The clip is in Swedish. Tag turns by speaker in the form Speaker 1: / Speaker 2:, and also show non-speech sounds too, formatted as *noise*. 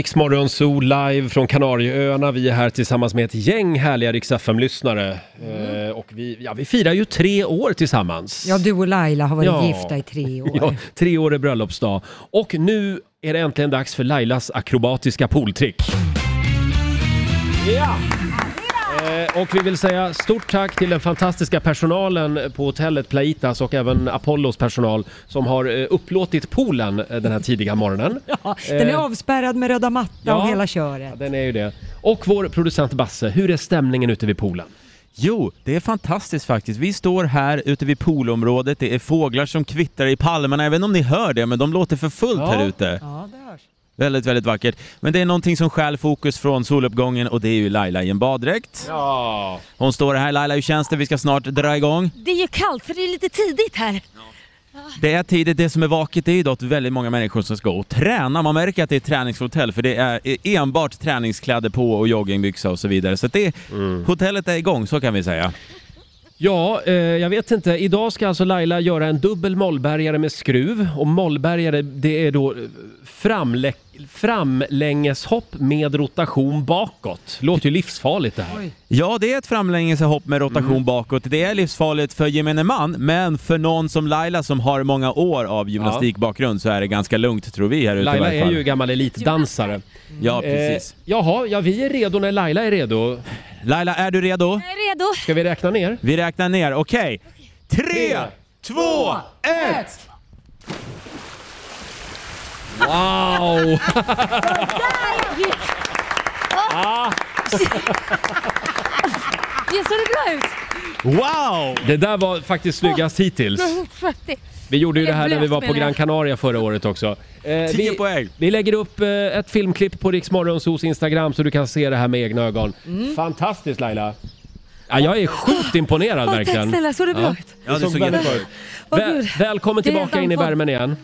Speaker 1: Riksmorgon Zoo live från Kanarieöarna. Vi är här tillsammans med ett gäng härliga Rix lyssnare eh, Och vi, ja, vi firar ju tre år tillsammans.
Speaker 2: Ja, du och Laila har varit
Speaker 1: Ja.
Speaker 2: gifta i tre år.
Speaker 1: *laughs* Ja, tre år är bröllopsdag. Och nu är det äntligen dags för Lailas akrobatiska pooltrick. Ja! Eh, Och vi vill säga stort tack till den fantastiska personalen på hotellet Plaitas och även Apollos personal som har eh, upplåtit poolen eh, den här tidiga morgonen.
Speaker 2: Ja, Den är
Speaker 1: Eh,
Speaker 2: avspärrad med röda matta
Speaker 1: ja.
Speaker 2: och hela
Speaker 1: Ja,
Speaker 2: köret.
Speaker 1: den är ju det. Och vår producent Basse, hur är stämningen ute vid poolen?
Speaker 3: Jo, det är fantastiskt faktiskt. Vi står här ute vid poolområdet, det är fåglar som kvittrar i palmerna. Jag vet inte om ni hör det, men de låter för fullt
Speaker 1: Ja.
Speaker 3: här ute.
Speaker 2: Ja, det hörs.
Speaker 3: Väldigt, väldigt vackert. Men det är någonting som stjäl fokus från soluppgången och det är ju Laila i en baddräkt.
Speaker 1: Ja.
Speaker 3: Hon står här. Laila, hur känns det? Vi ska snart dra igång.
Speaker 4: Det är ju kallt för det är lite tidigt här.
Speaker 3: Det är tidigt, det som är vaket det är ju dock väldigt många människor som ska och träna. Man märker att det är ett träningshotell för det är e- enbart träningskläder på och joggingbyxa och så vidare. Så att det,
Speaker 1: Mm.
Speaker 3: hotellet är igång, så kan vi säga.
Speaker 1: Ja, eh, jag vet inte. Idag ska alltså Laila göra en dubbel mollbergare med skruv. Och mollbergare, det är då eh, framlä- framlängeshopp med rotation bakåt. Låter ju livsfarligt det här.
Speaker 3: Ja, det är ett framlängeshopp med rotation
Speaker 1: Mm.
Speaker 3: bakåt. Det är livsfarligt för gemene man, men för någon som Laila som har många år av gymnastikbakgrund så är det ganska lugnt tror vi här ute
Speaker 1: Laila
Speaker 3: i varje
Speaker 1: är
Speaker 3: fall.
Speaker 1: ju gammal elitdansare.
Speaker 3: Ja,
Speaker 1: Eh,
Speaker 3: precis.
Speaker 1: jaha, ja vi är redo när Laila är redo.
Speaker 3: Laila, är du redo?
Speaker 4: Jag är redo.
Speaker 1: Ska vi räkna ner?
Speaker 3: Vi räknar ner, okej. Tre, två, ett!
Speaker 1: Wow!
Speaker 4: *laughs* Det såg bra ut.
Speaker 3: Wow!
Speaker 1: Det där var faktiskt snyggast
Speaker 2: *laughs*
Speaker 1: hittills. Vi gjorde ju det här när vi var på Gran Canaria förra året också. Eh, vi,
Speaker 3: poäng.
Speaker 1: vi lägger upp eh, ett filmklipp på Riksmorgonsos Instagram så du kan se det här med egna ögon.
Speaker 4: Mm.
Speaker 1: Fantastiskt Laila! Ja, jag är sjukt imponerad
Speaker 4: Åh, tack
Speaker 1: verkligen.
Speaker 4: snälla, såg det bra ut?
Speaker 3: Ja, det såg jättebra ut.
Speaker 4: Åh,
Speaker 1: Vä-
Speaker 4: Gud.
Speaker 1: välkommen
Speaker 4: Det är
Speaker 1: tillbaka in i
Speaker 4: helt andfådd.
Speaker 1: värmen igen.